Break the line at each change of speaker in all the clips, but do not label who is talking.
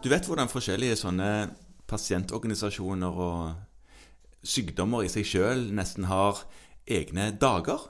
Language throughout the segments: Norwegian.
Du vet hvordan forskjellige sånne pasientorganisasjoner og sykdommer i seg sjøl nesten har egne dager?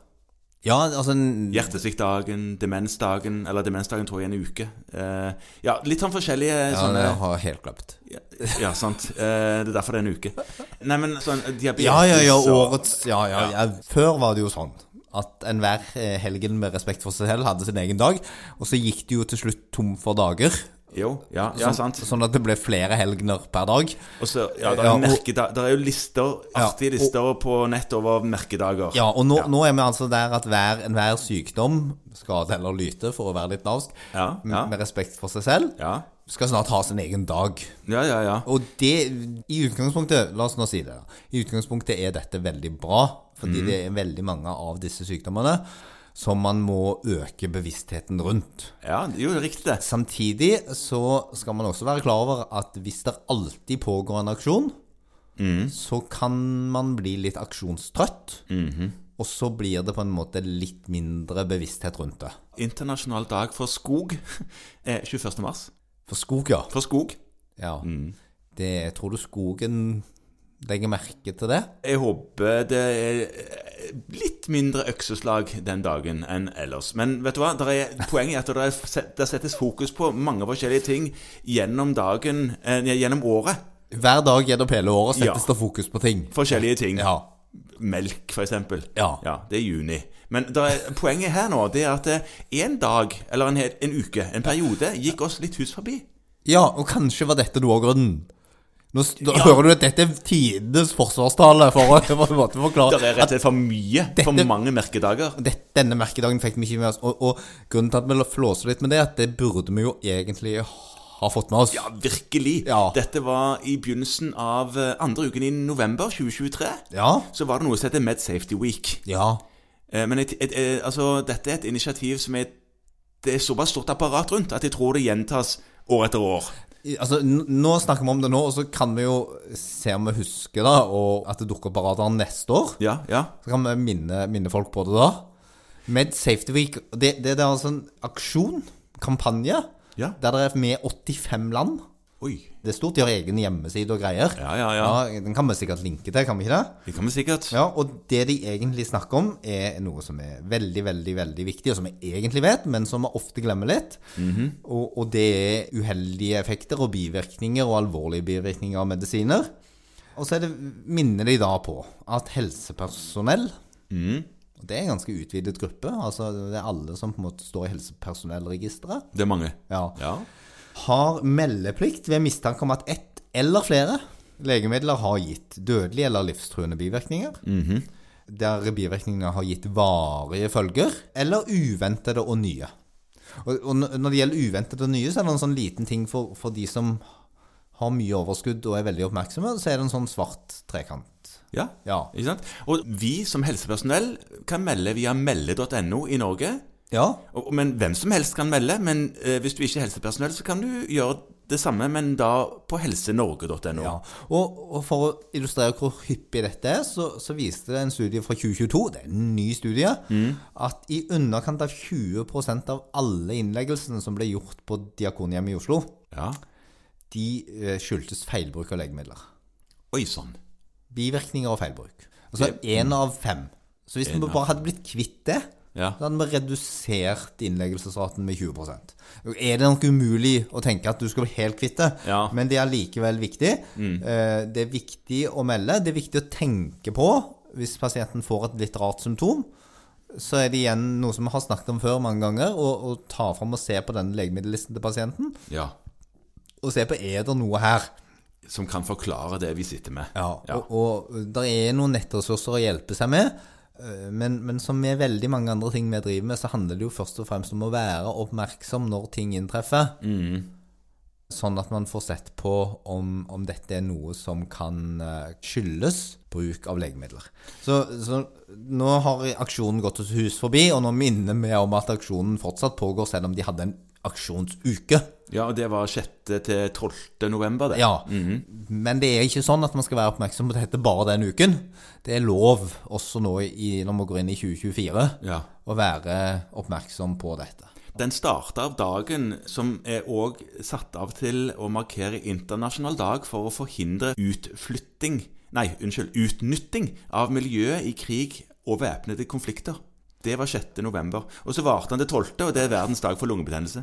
Ja, altså en-
Hjertesviktdagen, demensdagen, eller demensdagen tror jeg er en uke. Eh, ja, litt sånn forskjellige
ja,
sånne
Jeg har helt glemt.
ja, ja, sant. Eh, det er derfor det er en uke. Nei, men sånn diabetes
Ja, ja, ja,
og-
årets ja, ja, ja. Før var det jo sånn at enhver eh, helgen med respekt for seg selv hadde sin egen dag, og så gikk det jo til slutt tom for dager.
Jo, ja, ja
sånn,
sant.
sånn at det ble flere helgener per dag.
Og så, ja, det er,
Ja, og-
merkeda- det er jo lister, artige
Ja, og-
lister på nett over merkedager.
Ja, og nå, nå er vi altså der at hver, enhver sykdom, skade eller lyte, for å være litt navsk,
Ja,
m-
ja.
med respekt for seg selv,
Ja,
skal snart ha sin egen dag.
ja, ja. ja.
Og det, i utgangspunktet, la oss nå si det, da. i utgangspunktet er dette veldig bra, fordi det er veldig mange av disse sykdommene som man må øke bevisstheten rundt.
ja jo, riktig det.
Samtidig så skal man også være klar over at hvis det alltid pågår en aksjon, så kan man bli litt aksjonstrøtt. Og så blir det på en måte litt mindre bevissthet rundt det.
Internasjonal dag for skog er 21. mars.
For skog, ja.
For skog.
ja. Det, tror du skogen legger merke til det?
Jeg håper det er eh, litt mindre økseslag den dagen enn ellers. Men vet du hva? Der er, poenget er at det, er, set- der settes fokus på mange forskjellige ting gjennom dagen, eh, gjennom året.
Hver dag gjennom hele året
Ja.
settes det fokus på ting.
Forskjellige ting.
Ja.
Melk, for eksempel.
Ja.
det er juni. Men der er, poenget her nå det er at eh, en dag, eller en, hel- en uke, en periode, gikk oss litt hus forbi.
ja, og kanskje var dette noe av grunnen. Nå s- da hører du at dette er tidenes forsvarstale for å på en måte forklare
Det er rett og slett for mye, for
Dette-
mange merkedager.
det, denne merkedagen fikk vi ikke med oss. Og, og grunnen til at vi flåser litt med det, er at det burde vi jo egentlig ha fått med oss.
Ja, virkelig.
Ja.
Dette var i begynnelsen av eh, andre uken i november 2023.
Ja.
Så var det noe som heter Med Safety Week.
Ja.
Eh, Men et, et, eh, altså, dette er et initiativ som er Det er såpass stort apparat rundt at jeg tror det gjentas år etter år.
I- Altså, n- nå snakker vi om det nå, og så kan vi jo se om vi husker det, og at det dukker opp på radaren neste år.
Ja, ja.
Så kan vi minne, minne folk på det da. Med Safety Week, det, det, det er altså en aksjon, kampanje,
Ja.
der det er med 85 land.
Oi.
Det er stort, de har egen hjemmeside og greier.
Ja, ja, ja.
Den kan vi sikkert linke til, kan vi ikke det?
Det kan vi sikkert.
Ja, og det de egentlig snakker om, er noe som er veldig, veldig veldig viktig, og som vi egentlig vet, men som vi ofte glemmer litt. og, og det er uheldige effekter og bivirkninger og alvorlige bivirkninger av medisiner. Og så er det, minner de da på at helsepersonell og Det er en ganske utvidet gruppe. altså Det er alle som på en måte står i helsepersonellregisteret.
Det er mange.
Ja,
Ja.
har meldeplikt ved mistanke om at ett eller flere legemidler har gitt dødelige eller livstruende bivirkninger. Der bivirkningene har gitt varige følger, eller uventede og nye. Og, og n- når det gjelder uventede og nye, så er det en sånn liten ting for, for de som har mye overskudd og er veldig oppmerksomme, så er det en sånn svart trekant.
ja.
Ja.
Ikke sant? Og vi som helsepersonell kan melde via melde.no i Norge.
Ja,
Og, men Hvem som helst kan melde, men eh, hvis du ikke er helsepersonell, så kan du gjøre det samme, men da på helsenorge.no.
Ja, og, og for å illustrere hvor hyppig dette er, så, så viste det en studie fra 2022, det er en ny studie,
Mm.
at i underkant av 20 av alle innleggelsene som ble gjort på Diakonhjemmet i Oslo,
Ja.
de eh, skyldtes feilbruk av legemidler.
Oi sånn. sann.
Bivirkninger og feilbruk. Altså én av fem. Så hvis vi
En av
bare hadde blitt kvitt det,
Ja.
så hadde vi redusert innleggelsesraten med 20 Er det nok umulig å tenke at du skal bli helt kvitt det,
Ja.
men det er likevel viktig. Eh, Det er viktig å melde. Det er viktig å tenke på hvis pasienten får et litt rart symptom. Så er det igjen noe som vi har snakket om før mange ganger, å å ta fram og se på denne legemiddellisten til pasienten.
Ja.
Og se på er det noe her.
Som kan forklare det vi sitter med.
Ja, Og, og det er noen nettressurser å hjelpe seg med, eh, men, men som med veldig mange andre ting vi driver med, så handler det jo først og fremst om å være oppmerksom når ting inntreffer. Sånn at man får sett på om, om dette er noe som kan eh, skyldes bruk av legemidler. Så, så nå har aksjonen gått oss hus forbi, og nå minner vi om at aksjonen fortsatt pågår, selv om de hadde en aksjonsuke.
Ja, og det var 6. til 12. november, det.
Ja.
Mhm.
Men det er ikke sånn at man skal være oppmerksom på dette bare den uken. Det er lov også nå i, når vi går inn i 2024
Ja.
å være oppmerksom på dette.
den starta av dagen som er òg satt av til å markere internasjonal dag for å forhindre utflytting Nei, unnskyld, utnytting av miljøet i krig og væpnede konflikter. Det var 6. november. Og så varte han til 12., og det er verdens dag for lungebetennelse.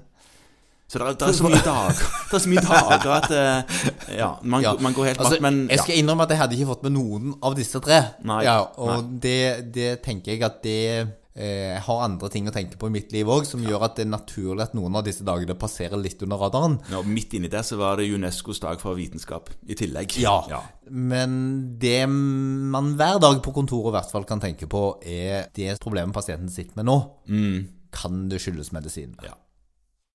Så det er, det er, så, mye dager, det er så mye dager at eh, Ja, man,
Ja.
man går helt
altså,
matt, men
Jeg
ja.
skal innrømme at jeg hadde ikke fått med noen av disse tre.
Nei.
Ja, og det, det tenker jeg at det eh, jeg har andre ting å tenke på i mitt liv òg, som gjør at det er naturlig at noen av disse dagene passerer litt under radaren.
Ja, midt inni der så var det UNESCOs dag for vitenskap i tillegg. ja.
Men det man hver dag på kontoret i hvert fall
Mm.
kan tenke på, er det problemet pasienten sitter med nå. Kan det skyldes medisinene?
Ja.